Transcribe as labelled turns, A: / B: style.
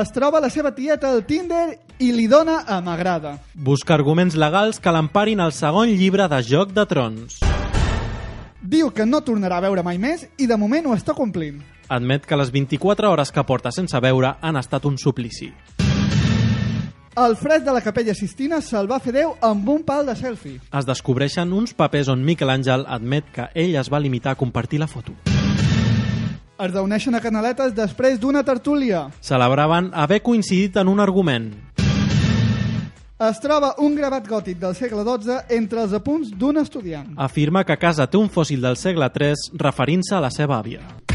A: es troba la seva tieta al Tinder i li dona a m'agrada.
B: Busca arguments legals que l'emparin al segon llibre de Joc de Trons.
A: Diu que no tornarà a veure mai més i de moment ho està complint.
B: Admet que les 24 hores que porta sense veure han estat un suplici.
A: El fred de la capella Sistina se'l va fer Déu amb un pal de selfie.
B: Es descobreixen uns papers on Miquel Àngel admet que ell es va limitar a compartir la foto.
A: Es reuneixen a Canaletes després d'una tertúlia.
B: Celebraven haver coincidit en un argument.
A: Es troba un gravat gòtic del segle XII entre els apunts d'un estudiant.
B: Afirma que a casa té un fòssil del segle III referint-se a la seva àvia.